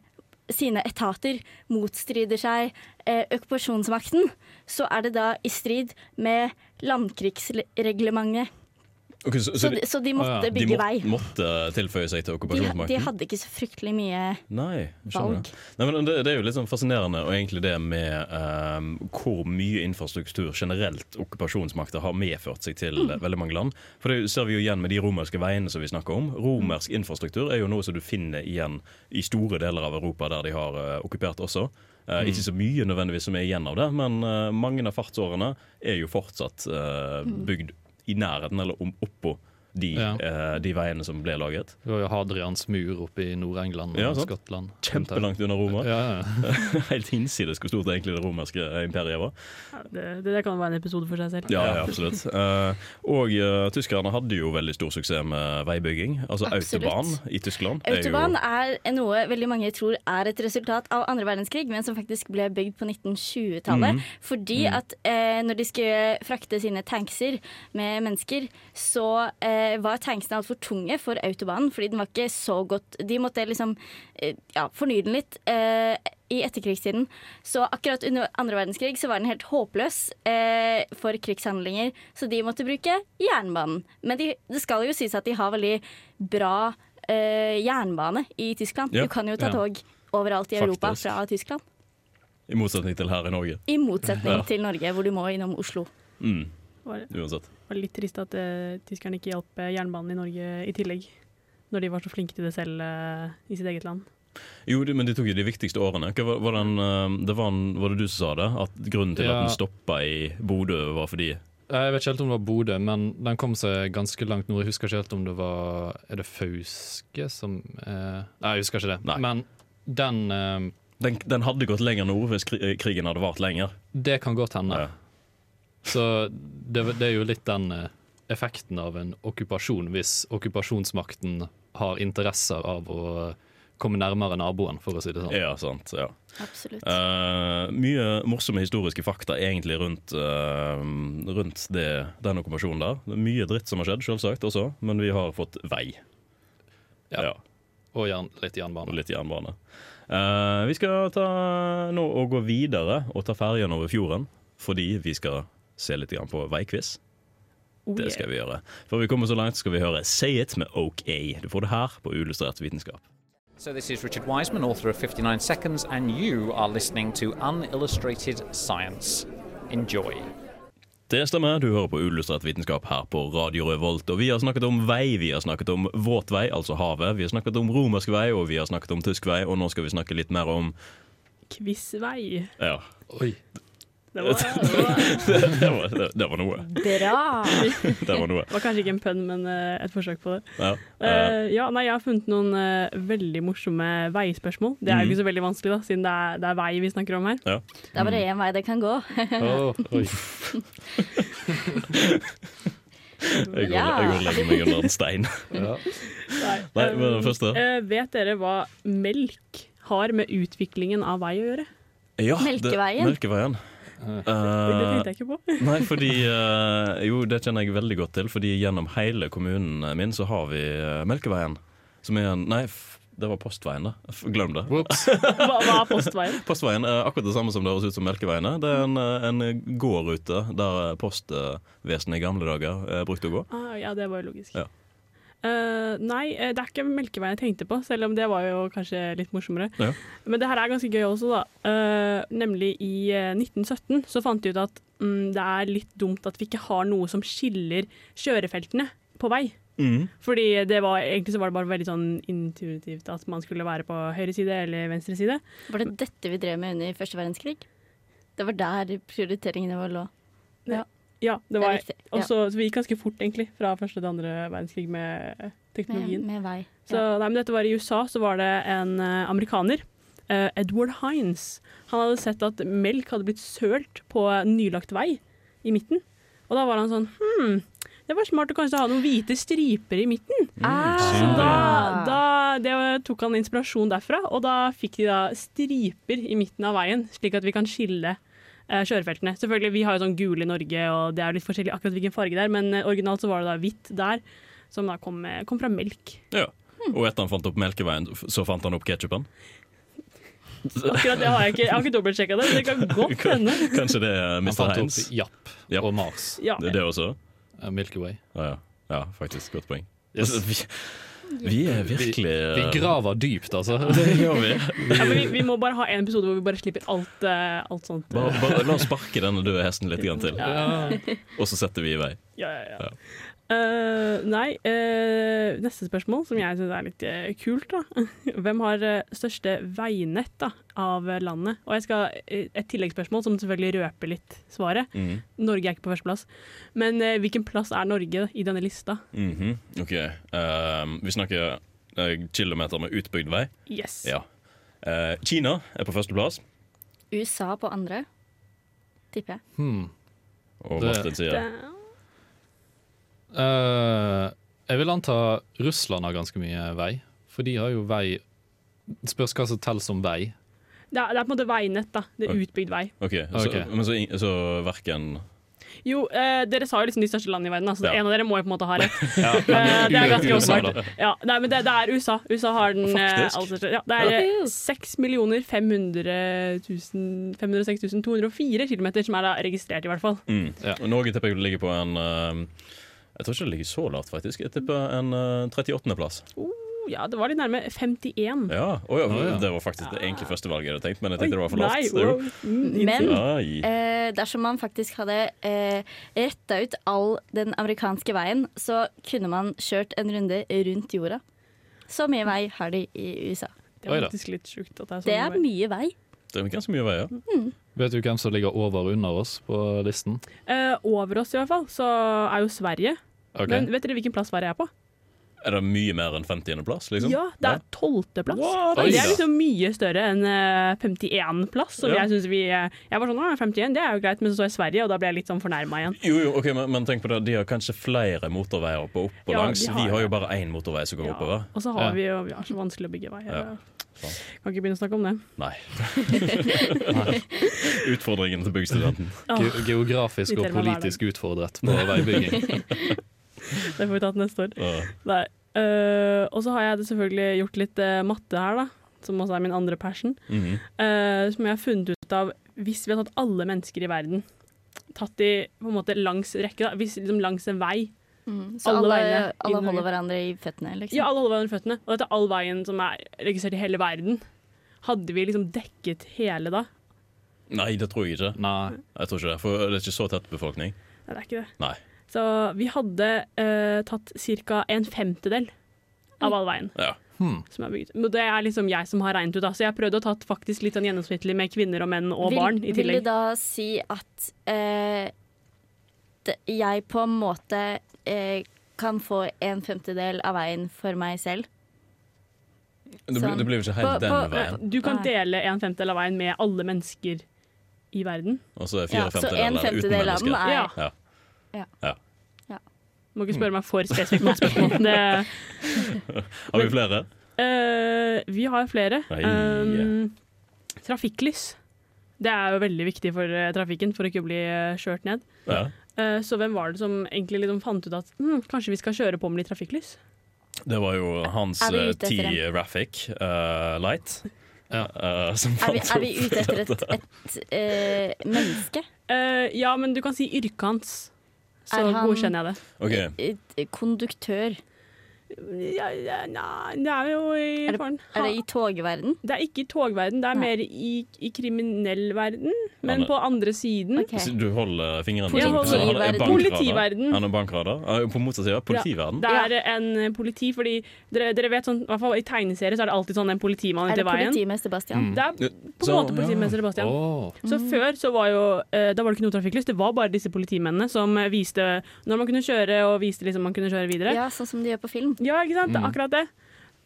Speaker 6: sine etater motstrider seg eh, okkupasjonsmakten, så er det da i strid med landkrigsreglementet.
Speaker 1: Ok, så,
Speaker 6: Så,
Speaker 1: så de,
Speaker 6: de- så de
Speaker 4: Å ja,
Speaker 6: måtte
Speaker 1: de
Speaker 6: bygge vei.
Speaker 1: må, måtte tilføye seg til
Speaker 6: De, ha- de
Speaker 1: okkupasjonsmakten?
Speaker 6: hadde ikke så fryktelig mye
Speaker 1: Nei, jeg skjønner
Speaker 6: Valg.
Speaker 1: det. Nei, men det, det er jo litt sånn fascinerende og egentlig det med eh, hvor mye infrastruktur generelt okkupasjonsmakter har medført seg til eh, veldig mange land. For det ser vi jo igjen med de romerske veiene som vi snakker om. Romersk infrastruktur er jo noe som du finner igjen i store deler av Europa der de har eh, okkupert også. Eh, Ikke så mye nødvendigvis som er igjen av det, men eh, mange av fartsårene er jo fortsatt eh, bygd i nærheten eller om oppå de,
Speaker 4: Ja.
Speaker 1: eh, de veiene som ble laget.
Speaker 4: Det var jo Hadrians mur oppe i Nord-England og
Speaker 1: Ja, sant.
Speaker 4: Skottland.
Speaker 1: Kjempelangt unna Roma.
Speaker 4: Ja, (laughs) ja.
Speaker 1: (laughs) Helt hinsides hvor stort egentlig det romerske imperiet var.
Speaker 5: Ja, Det, det der kan være en episode for seg selv.
Speaker 1: Ja, ja absolutt. Eh, og eh, tyskerne hadde jo veldig stor suksess med veibygging. Altså
Speaker 6: Absolutt.
Speaker 1: autobahn i Tyskland. er jo-
Speaker 6: Autobahn er noe veldig mange tror er et resultat av andre verdenskrig, men som faktisk ble bygd på 1920-tallet.
Speaker 1: Mm.
Speaker 6: Fordi at eh, når de skulle frakte sine tankser med mennesker, så eh, var tanksene altfor tunge for autobanen, fordi den var ikke så godt De måtte liksom eh, ja, fornye den litt. Eh, i etterkrigstiden. Så akkurat under andre verdenskrig så var den helt håpløs eh, for krigshandlinger, så de måtte bruke jernbanen. Men de, det skal jo sies at de har veldig bra eh, jernbane i Tyskland.
Speaker 1: Ja,
Speaker 6: Du kan jo ta
Speaker 1: ja.
Speaker 6: tog overalt i Europa
Speaker 1: Faktisk.
Speaker 6: fra Tyskland.
Speaker 1: I motsetning til her i Norge.
Speaker 6: I motsetning til Norge, hvor du må innom Oslo.
Speaker 1: Mm,
Speaker 5: Var,
Speaker 1: uansett.
Speaker 5: var litt trist at eh, tyskerne ikke hjalp eh, jernbanen i Norge i tillegg. Når de var så flinke til det selv eh, i sitt eget land.
Speaker 1: Jo, det- men de tok jo de viktigste årene. Hva var, var, den, eh, det var, en, var det du som sa det? At grunnen til
Speaker 4: Ja.
Speaker 1: at den stoppa i Bodø, var fordi
Speaker 4: Jeg vet ikke helt om det var Bodø, men den kom seg ganske langt nord. Jeg husker ikke helt om det var Er det Fauske som eh, Nei, jeg husker ikke det.
Speaker 1: Nei.
Speaker 4: Men den eh,
Speaker 1: den, den hadde gått lenger nord hvis kri- krigen hadde vart lenger.
Speaker 4: Det kan godt hende.
Speaker 1: Ja.
Speaker 4: Så det, det er jo litt den eh, effekten av en okkupasjon, hvis okkupasjonsmakten har interesser av å komme nærmere naboen, for å si det sånn.
Speaker 1: Ja, sant. ja
Speaker 6: Absolutt.
Speaker 1: Eh, mye morsomme historiske fakta egentlig rundt, eh, rundt det, den okkupasjonen der. Det er Mye dritt som har skjedd, selvsagt, også, men vi har fått vei.
Speaker 4: Ja.
Speaker 1: Ja,
Speaker 4: Og jern, litt
Speaker 1: og
Speaker 4: jernbane.
Speaker 1: litt jernbane. Eh, vi skal ta, nå og gå videre og ta ferjen over fjorden, fordi vi skal se litt grann på veikviss.
Speaker 5: Oh,
Speaker 1: Det
Speaker 5: yeah.
Speaker 1: skal vi gjøre. Før vi kommer så langt, skal vi høre Say It med Oak A. Du får det her på Uillustrert vitenskap.
Speaker 11: So, this is Richard Wiseman, author of 59 Seconds, and you are listening to Unillustrated Science. Enjoy.
Speaker 1: Det stemmer, du hører på Uillustrert vitenskap her på Radio Revolt. Og vi har snakket om vei, vi har snakket om våt vei, altså havet. Vi har snakket om romersk vei, og vi har snakket om tysk vei, og nå skal vi snakke litt mer om
Speaker 5: Quizvei.
Speaker 1: Ja. (laughs)
Speaker 4: Oi.
Speaker 5: Det var, det var,
Speaker 1: Det, det, var, det, det var noe. (laughs)
Speaker 6: Bra!
Speaker 1: Det var noe.
Speaker 5: det var kanskje ikke en pønn, men eh, et forsøk på det.
Speaker 1: Ja. eh,
Speaker 5: Eh, ja, nei, jeg har funnet noen eh, veldig morsomme veispørsmål. Det er jo
Speaker 1: Mhm.
Speaker 5: ikke så veldig vanskelig, da, siden det er, det er vei vi snakker om her.
Speaker 1: ja.
Speaker 6: Det er bare én vei det kan gå.
Speaker 4: Å, oi.
Speaker 1: Eh, Jeg går,
Speaker 6: Ja.
Speaker 1: jeg går og legger meg under en stein.
Speaker 4: Ja.
Speaker 1: Nei, men den første?
Speaker 5: eh, vet dere hva melk har med utviklingen av vei å gjøre?
Speaker 1: Ja,
Speaker 6: Melkeveien.
Speaker 1: Det, melkeveien.
Speaker 5: det
Speaker 1: Eh,
Speaker 5: tenkte jeg ikke på. (laughs)
Speaker 1: Nei, fordi eh, Jo, det kjenner jeg veldig godt til, fordi gjennom hele kommunen min så har vi eh, Melkeveien. Som er en Nei, f det var Postveien, da. F glem det.
Speaker 4: Whoops.
Speaker 5: Hva, hva er postveien?
Speaker 1: Postveien er akkurat det samme som det høres ut som Melkeveiene. Det er en, eh, en gårdrute der eh, postvesenet i gamle dager eh, brukte å gå.
Speaker 5: Ah, ja, det var jo logisk.
Speaker 1: Ja.
Speaker 5: Eh, nei, eh, det er ikke melkeveien jeg tenkte på, selv om det var jo kanskje litt morsommere.
Speaker 1: Ja.
Speaker 5: Men det her er ganske gøy også, da. Eh, nemlig i eh, 1917 så fant de ut at mm, det er litt dumt at vi ikke har noe som skiller kjørefeltene på vei.
Speaker 4: Mm.
Speaker 5: Fordi det var, egentlig så var det bare veldig sånn intuitivt at man skulle være på høyre side eller venstre side.
Speaker 6: Var det dette vi drev med under første verdenskrig? Det var der prioriteringene våre lå.
Speaker 5: Ja, det
Speaker 6: Det er
Speaker 5: var,
Speaker 6: riktig. Ja.
Speaker 5: og så så vi gikk ganske fort, egentlig, fra første til andre verdenskrig med eh,
Speaker 6: Med,
Speaker 5: teknologien.
Speaker 6: med vei.
Speaker 5: Så, nei, men dette var I USA så var det en eh, amerikaner, eh, Edward Hines. Han hadde sett at melk hadde blitt sølt på en nylagt vei i midten. Og da var han sånn Hm, det var smart å kanskje ha noen hvite striper i midten.
Speaker 1: Mm,
Speaker 5: Så da,
Speaker 6: Ah,
Speaker 5: da, det tok han inspirasjon derfra, og da fikk de da striper i midten av veien, slik at vi kan skille eh, kjørefeltene. Selvfølgelig, Vi har jo sånn gule i Norge, og det er jo litt forskjellig akkurat hvilken farge det er, men eh, originalt så var det da hvitt der, som da kom, eh, kom fra melk.
Speaker 1: Ja. Og etter han fant opp Melkeveien, f- så fant han opp ketsjupen.
Speaker 5: (laughs) Akkurat det har jeg ikke. Jeg har ikke dobbeltsjekka det, men det
Speaker 1: (laughs)
Speaker 5: kan godt hende.
Speaker 1: Kanskje det er
Speaker 4: Han
Speaker 1: Mr.
Speaker 4: fant opp
Speaker 1: Heinz.
Speaker 4: Japp
Speaker 1: Japp.
Speaker 4: og Mars.
Speaker 5: Ja.
Speaker 1: Det, det også?
Speaker 4: eh, Milky Way.
Speaker 1: Ja, ja. ja, faktisk. Godt poeng.
Speaker 4: Yes.
Speaker 1: Vi, vi er virkelig eh,
Speaker 4: Vi graver dypt, altså.
Speaker 1: (laughs) Det gjør vi.
Speaker 5: Ja, men vi, vi må bare ha en episode hvor vi bare slipper alt, eh, alt sånt.
Speaker 1: Bare, bare la oss sparke denne døde hesten litt grann til,
Speaker 4: Ja.
Speaker 1: og så setter vi i vei.
Speaker 5: Ja, ja, ja. Eh, nei, eh, neste spørsmål, som jeg syns er litt eh, kult, da. (laughs) Hvem har eh, største veinett da, av eh, landet? Og jeg skal eh, Et tilleggsspørsmål som selvfølgelig røper litt svaret.
Speaker 4: Mm.
Speaker 1: Mhm.
Speaker 5: Norge er ikke på førsteplass. Men eh, hvilken plass er Norge i denne lista?
Speaker 1: Mhm. OK. ehm, vi snakker eh, kilometer med utbygd vei.
Speaker 5: Yes.
Speaker 1: Ja. Eh, Kina er på førsteplass,
Speaker 6: USA på andre, tipper jeg.
Speaker 4: Hmm.
Speaker 1: og
Speaker 4: Det-
Speaker 1: Martin sier
Speaker 5: Det-
Speaker 4: Eh, jeg vil anta Russland har ganske mye vei, for de har jo vei Spørs hva som teller som vei.
Speaker 5: Det er, det er på en måte veinett, da. Det er
Speaker 1: Oi.
Speaker 5: utbygd vei.
Speaker 1: OK. Så,
Speaker 4: Ok.
Speaker 1: Men så, ing- så verken
Speaker 5: Jo, eh, dere sa jo liksom de største landene i verden, da, så
Speaker 1: Ja.
Speaker 5: en av dere må jo på en måte ha
Speaker 1: (laughs)
Speaker 5: rett. Eh, det er ganske
Speaker 4: USA,
Speaker 5: åpenbart. Ja, nei, men det, det er USA. USA har den eh,
Speaker 1: Faktisk?
Speaker 5: aller største. Ja, det er eh, 6 500 000 506 204 kilometer som er da registrert, i hvert fall.
Speaker 1: mm.
Speaker 4: Ja.
Speaker 1: Og Norge tipper jeg ligger på en ehm, Jeg tror ikke det ligger så lavt, faktisk. Jeg tipper en eh, 38. plass.
Speaker 5: Oh, ja, det var litt nærme 51.
Speaker 1: Ja, å ja, Det var faktisk det egentlig første valget jeg hadde tenkt, men jeg tenkte det var for
Speaker 5: Nei,
Speaker 1: lavt.
Speaker 5: wow.
Speaker 1: Jo.
Speaker 5: Mm,
Speaker 6: Men
Speaker 1: Nei.
Speaker 6: eh, dersom man faktisk hadde eh, retta ut all den amerikanske veien, så kunne man kjørt en runde rundt jorda. Så mye vei har de i USA.
Speaker 5: Det er faktisk litt sjukt at det er sånn.
Speaker 6: Det er mye vei.
Speaker 1: Det er ganske mye veier.
Speaker 4: Vet du hvem som ligger over og under oss på listen?
Speaker 5: Eh, over oss i hvert fall, så er jo Sverige.
Speaker 4: Ok.
Speaker 5: Men vet dere hvilken plass Sverige er på?
Speaker 1: Er det mye mer enn 50.-plass, liksom?
Speaker 5: Ja, det er tolvteplass.
Speaker 1: What?
Speaker 5: Det
Speaker 1: Oi,
Speaker 5: er
Speaker 1: da.
Speaker 5: liksom mye større enn eh, 51-plass. Som
Speaker 1: Ja.
Speaker 5: jeg synes vi eh, Jeg var sånn, «Å, 51, det er jo greit, men så så jeg Sverige, og da ble jeg litt sånn fornærma igjen.
Speaker 1: Jo, jo, ok, men, men tenk på det, de har kanskje flere motorveier på opp og
Speaker 5: Ja,
Speaker 1: langs.
Speaker 5: de har
Speaker 1: vi har
Speaker 5: det.
Speaker 1: jo bare én motorvei som går oppover.
Speaker 5: Og så har vi jo Vi har så vanskelig å bygge veier.
Speaker 1: Ja.
Speaker 5: Kan ikke begynne å snakke om det. (laughs)
Speaker 1: Nei. Utfordringen til byggstudenten.
Speaker 4: Ge geografisk og
Speaker 5: irriterer meg hver dag.
Speaker 4: politisk utfordret på
Speaker 5: (laughs)
Speaker 4: veibygging.
Speaker 5: Det får vi ta til neste år.
Speaker 1: Ja.
Speaker 5: Nei. Eh, og så har jeg selvfølgelig gjort litt eh, matte her, da. Som også er min andre passion.
Speaker 1: Mhm.
Speaker 5: eh, som jeg har funnet ut av hvis vi har tatt alle mennesker i verden, tatt de på en måte langs rekke, da, hvis liksom langs en vei
Speaker 6: Mm-hmm. Så alle, alle,
Speaker 5: veiene i Norge.
Speaker 6: holder hverandre i føttene, liksom.
Speaker 5: Ja, alle holder hverandre i føttene. Og dette er all veien som er registrert i hele verden. Hadde vi liksom dekket hele da?
Speaker 1: Nei, det tror jeg ikke.
Speaker 4: Nei.
Speaker 1: Jeg tror ikke det, For det er ikke så tett befolkning.
Speaker 5: Nei, det er ikke det.
Speaker 1: Nei.
Speaker 5: Så vi hadde eh, tatt ca. en femtedel av all veien.
Speaker 1: Ja.
Speaker 5: Som er bygget. Men det er liksom jeg som har regnet ut, da. Så jeg prøvde å tatt faktisk litt sånn gjennomsnittlig med kvinner og menn og barn i
Speaker 6: Vil
Speaker 5: tillegg.
Speaker 6: du da si at eh, det, jeg på en måte eh, kan få en femtedel av veien for meg selv?
Speaker 1: Det, blir-
Speaker 6: Sånn.
Speaker 1: det blir jo ikke
Speaker 6: På-
Speaker 1: helt den
Speaker 6: på-
Speaker 1: veien.
Speaker 5: eh, Du kan
Speaker 6: Nei.
Speaker 5: dele en femtedel av veien med alle mennesker i verden.
Speaker 1: Og så er
Speaker 6: Ja,
Speaker 1: fire
Speaker 6: så
Speaker 1: femtedeler
Speaker 6: en
Speaker 1: uten
Speaker 6: femtedel av den
Speaker 1: mennesker.
Speaker 6: er-
Speaker 1: Ja.
Speaker 6: Ja.
Speaker 1: Ja.
Speaker 5: Må ikke spørre meg for spesifikt om spørsmål. Det,
Speaker 1: Har vi flere?
Speaker 5: Eh, vi har flere.
Speaker 1: Nei.
Speaker 5: Um, trafikklys. Det er jo veldig viktig for eh, trafikken, for å ikke bli eh, kjørt ned.
Speaker 1: Ja.
Speaker 5: Eh, så hvem var det som egentlig liksom fant ut at hm, kanskje vi skal kjøre på med litt trafikklys?
Speaker 1: Det var jo hans eh,
Speaker 5: Er vi ute etter en-
Speaker 1: T-Raffic Light. eh, som
Speaker 6: Er vi,
Speaker 1: fant
Speaker 6: er vi
Speaker 1: opp
Speaker 6: ute etter et,
Speaker 1: dette. (laughs)
Speaker 6: et eh, menneske?
Speaker 5: Eh, ja, men du kan si yrket hans. Så
Speaker 6: Er han-
Speaker 5: godkjenner jeg det.
Speaker 1: Ok.
Speaker 6: Eh, Et Konduktør?
Speaker 5: Ja, ja, nei, det er jo i
Speaker 6: Er det,
Speaker 5: faen.
Speaker 6: er det i togverden?
Speaker 5: Det er ikke i togverden, det er mer i, i kriminell verden, men
Speaker 1: Han er-
Speaker 5: på andre
Speaker 6: Mm.
Speaker 5: siden.
Speaker 1: Så Du holder fingrene
Speaker 5: Jeg
Speaker 1: sånn.
Speaker 5: holder-
Speaker 1: Så han er
Speaker 5: Politiverden.
Speaker 1: bankrader.
Speaker 5: Politiverden.
Speaker 1: Han er bankrader. Eh, På motsatt side, politiverden.
Speaker 5: Ja, det er en politi, fordi dere, dere vet sånn, i hvert fall i tegneserier så er det alltid sånn en politimann
Speaker 6: Er
Speaker 5: ute
Speaker 6: det
Speaker 5: i veien.
Speaker 6: politimester
Speaker 1: Mm.
Speaker 6: Bastian?
Speaker 5: Det er på en måte politimester Sebastian.
Speaker 4: Åh.
Speaker 5: Så
Speaker 6: Mm.
Speaker 5: før så var jo eh, Da var det ikke noe trafikklys, det var bare disse politimennene som eh, viste når man kunne kjøre, og viste liksom man kunne kjøre videre.
Speaker 6: Ja, sånn som de gjør på film.
Speaker 5: Ja, ikke sant? Det er
Speaker 6: Mm.
Speaker 5: akkurat det.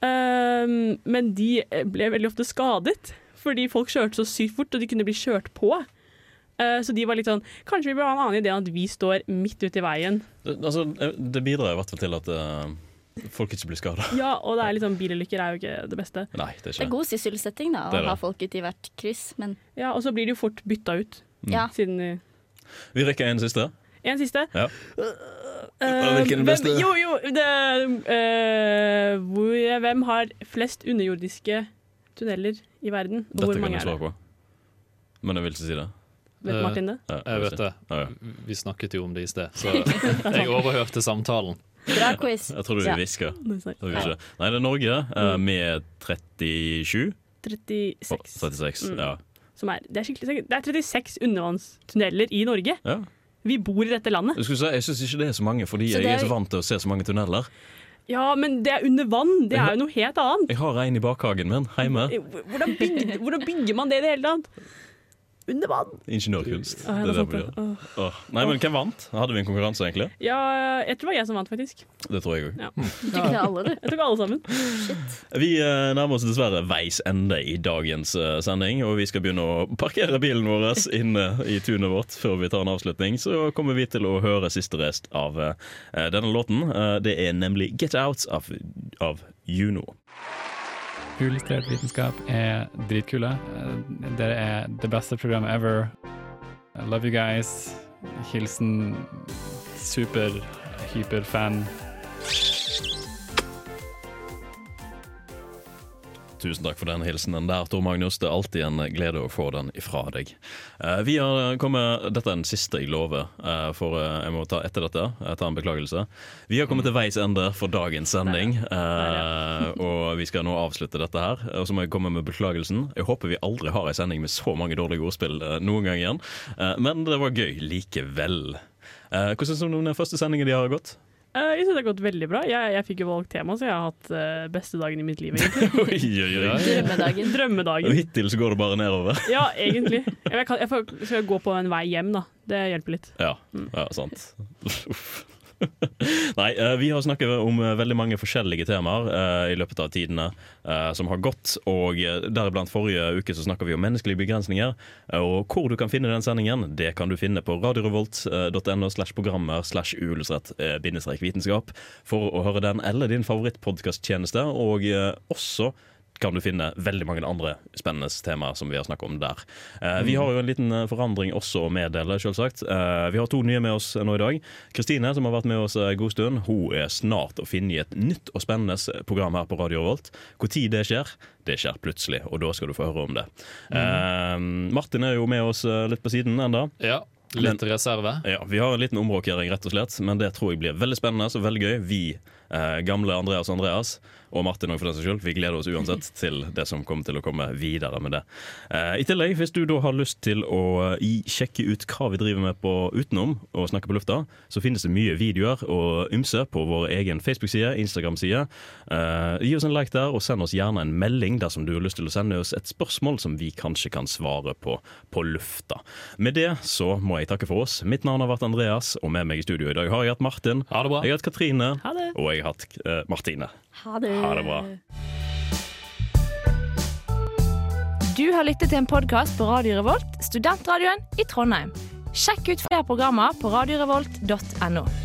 Speaker 5: Ehm, men de eh, ble veldig ofte skadet, fordi folk kjørte så sykt fort, og de kunne bli kjørt på. Eh, så de var litt sånn Kanskje vi bør ha en annen idé enn at vi står midt ute i veien.
Speaker 1: Det, altså, det bidrar i hvert fall til at eh, folk ikke blir skada.
Speaker 5: Ja, og det er liksom bilulykker er jo ikke det beste.
Speaker 1: Nei, det er
Speaker 6: Det
Speaker 1: ikke
Speaker 6: er god sysselsetting da,
Speaker 1: Det er
Speaker 6: å
Speaker 1: det.
Speaker 6: ha folk ute i hvert kryss, men
Speaker 5: Ja, Og så blir de jo fort bytta ut.
Speaker 1: Mm.
Speaker 6: Ja.
Speaker 5: Siden de
Speaker 1: Vi rekker en siste.
Speaker 5: En siste.
Speaker 1: Ja.
Speaker 5: Eh,
Speaker 1: Hvilken er den
Speaker 5: hvem-
Speaker 1: beste?
Speaker 5: Jo, jo, det, eh, hvor, hvem har flest underjordiske tunneler i verden? Og
Speaker 1: Dette
Speaker 5: hvor
Speaker 1: kan
Speaker 5: mange
Speaker 1: jeg
Speaker 5: er det?
Speaker 1: svare Eh, på. Men jeg vil ikke si det.
Speaker 5: Vet Martin det?
Speaker 1: Ja,
Speaker 4: Jeg vet det.
Speaker 1: Ja, ja.
Speaker 4: Vi snakket jo om det i sted,
Speaker 5: (laughs)
Speaker 4: så jeg overhørte samtalen.
Speaker 1: (laughs)
Speaker 6: bra quiz.
Speaker 1: Jeg tror du
Speaker 6: Ja.
Speaker 1: hvisker.
Speaker 5: Nei, sorry.
Speaker 1: Jeg tror ikke. Nei, det er Norge
Speaker 5: Mm.
Speaker 1: eh, med 37.
Speaker 5: 36.
Speaker 1: 36,
Speaker 5: Mm.
Speaker 1: ja.
Speaker 5: Som er, det, er skikkelig, sikkert- det er 36 undervannstunneler i Norge.
Speaker 1: ja.
Speaker 5: Vi bor i dette landet.
Speaker 1: Jeg, skulle si, jeg syns ikke det er så mange, fordi
Speaker 5: Så det
Speaker 1: jeg er
Speaker 5: er-
Speaker 1: så vant til å se så mange tunneler.
Speaker 5: Ja, men det er under vann. Det er jo noe helt annet. Eh,
Speaker 1: Jeg har en i bakhagen min hjemme.
Speaker 5: Hvordan bygger, hvordan bygger man det i det hele tatt? Under vann.
Speaker 1: Ingeniørkunst.
Speaker 5: Åh,
Speaker 1: det er det
Speaker 5: sant
Speaker 1: vi
Speaker 5: det.
Speaker 1: gjør. Åh. Nei, men hvem vant? Hadde vi en konkurranse, egentlig?
Speaker 5: Ja, jeg tror det var jeg som vant, faktisk.
Speaker 1: Det tror jeg òg.
Speaker 5: Ja.
Speaker 6: tok alle,
Speaker 1: (laughs)
Speaker 6: du.
Speaker 5: Jeg tok alle sammen.
Speaker 1: Vi eh, nærmer oss dessverre veis ende i dagens eh, sending, og vi skal begynne å parkere bilen vår inne i tunet vårt før vi tar en avslutning. Så kommer vi til å høre siste rest av eh, denne låten. Eh, det er nemlig 'Get Out' av, av Juno.
Speaker 12: Uillustrert vitenskap er dritkule. Eh, Dere er det beste programmet ever. I love you guys. Hilsen super-hyperfan.
Speaker 1: Tusen takk for den hilsenen der, Tor Magnus. Det er alltid en glede å få den ifra deg. Eh, Vi har kommet, Dette er den siste jeg lover, eh, for eh, jeg må ta etter dette. Jeg tar en beklagelse. Vi har kommet til veis ende for dagens sending, eh, og vi skal nå avslutte dette her. Og så må jeg komme med beklagelsen. Jeg håper vi aldri har ei sending med så mange dårlige ordspill eh, noen gang igjen, Eh, men det var gøy likevel. Eh, Hvordan syns du om den første sendingen de har gått? (laughs)
Speaker 5: Eh, jeg synes det har gått veldig bra. Jeg, jeg fikk jo valgt tema, så jeg har hatt eh, beste dagen i mitt liv,
Speaker 1: Oi,
Speaker 5: egentlig.
Speaker 1: oi, oi.
Speaker 5: Drømmedagen.
Speaker 1: Og hittil så går det bare nedover.
Speaker 5: Ja, egentlig. Jeg, kan, jeg får, skal gå på en vei hjem, da. Det hjelper litt.
Speaker 1: Ja, ja sant. Uff. (laughs) Nei, eh, vi har snakket om eh, veldig mange forskjellige temaer eh, i løpet av tidene eh, som har gått, og eh, deriblant forrige uke så snakket vi om menneskelige begrensninger, eh, og hvor du kan finne den sendingen, det kan du finne på radiorevolt.no slash programmer slash uillustrert eh, bindestrek vitenskap for å høre den eller din favorittpodcasttjeneste, og eh, også kan du finne veldig mange andre spennende temaer som vi har snakket om der. Eh, vi har jo en liten eh, forandring også å meddele, selvsagt. Eh, vi har to nye med oss nå i dag. Kristine, som har vært med oss eh, en god stund, hun er snart å finne i et nytt og spennende program her på Radio Revolt. Når det skjer, det skjer plutselig, og da skal du få høre om det. Eh, Martin er jo med oss eh, litt på siden enda.
Speaker 4: Ja,
Speaker 1: Men-
Speaker 4: litt reserve.
Speaker 1: ja, vi har en liten omrokering, rett og slett, men det tror jeg blir veldig spennende og veldig gøy. Vi, eh, gamle Andreas og Andreas, og Martin òg, for den saks skyld, vi gleder oss uansett til det som kommer til å komme videre med det. Eh, I tillegg, hvis du da har lyst til å eh, i, sjekke ut hva vi driver med på utenom og snakke på lufta, så finnes det mye videoer og ymse på vår egen Facebook-side, Instagram-side. Eh, gi oss en like der, og send oss gjerne en melding dersom du har lyst til å sende oss et spørsmål som vi kanskje kan svare på på lufta. Med det så må jeg takke for oss. Mitt navn har vært Andreas, og med meg i studio i dag har jeg hatt Martin, jeg har hatt Katrine,
Speaker 6: Ha det.
Speaker 1: og jeg har hatt eh, Martine.
Speaker 6: Ha det.
Speaker 1: Ha det bra.
Speaker 13: Du har lyttet til en podkast på Radio Revolt, studentradioen i Trondheim. Sjekk ut flere programmer på radiorevolt.no.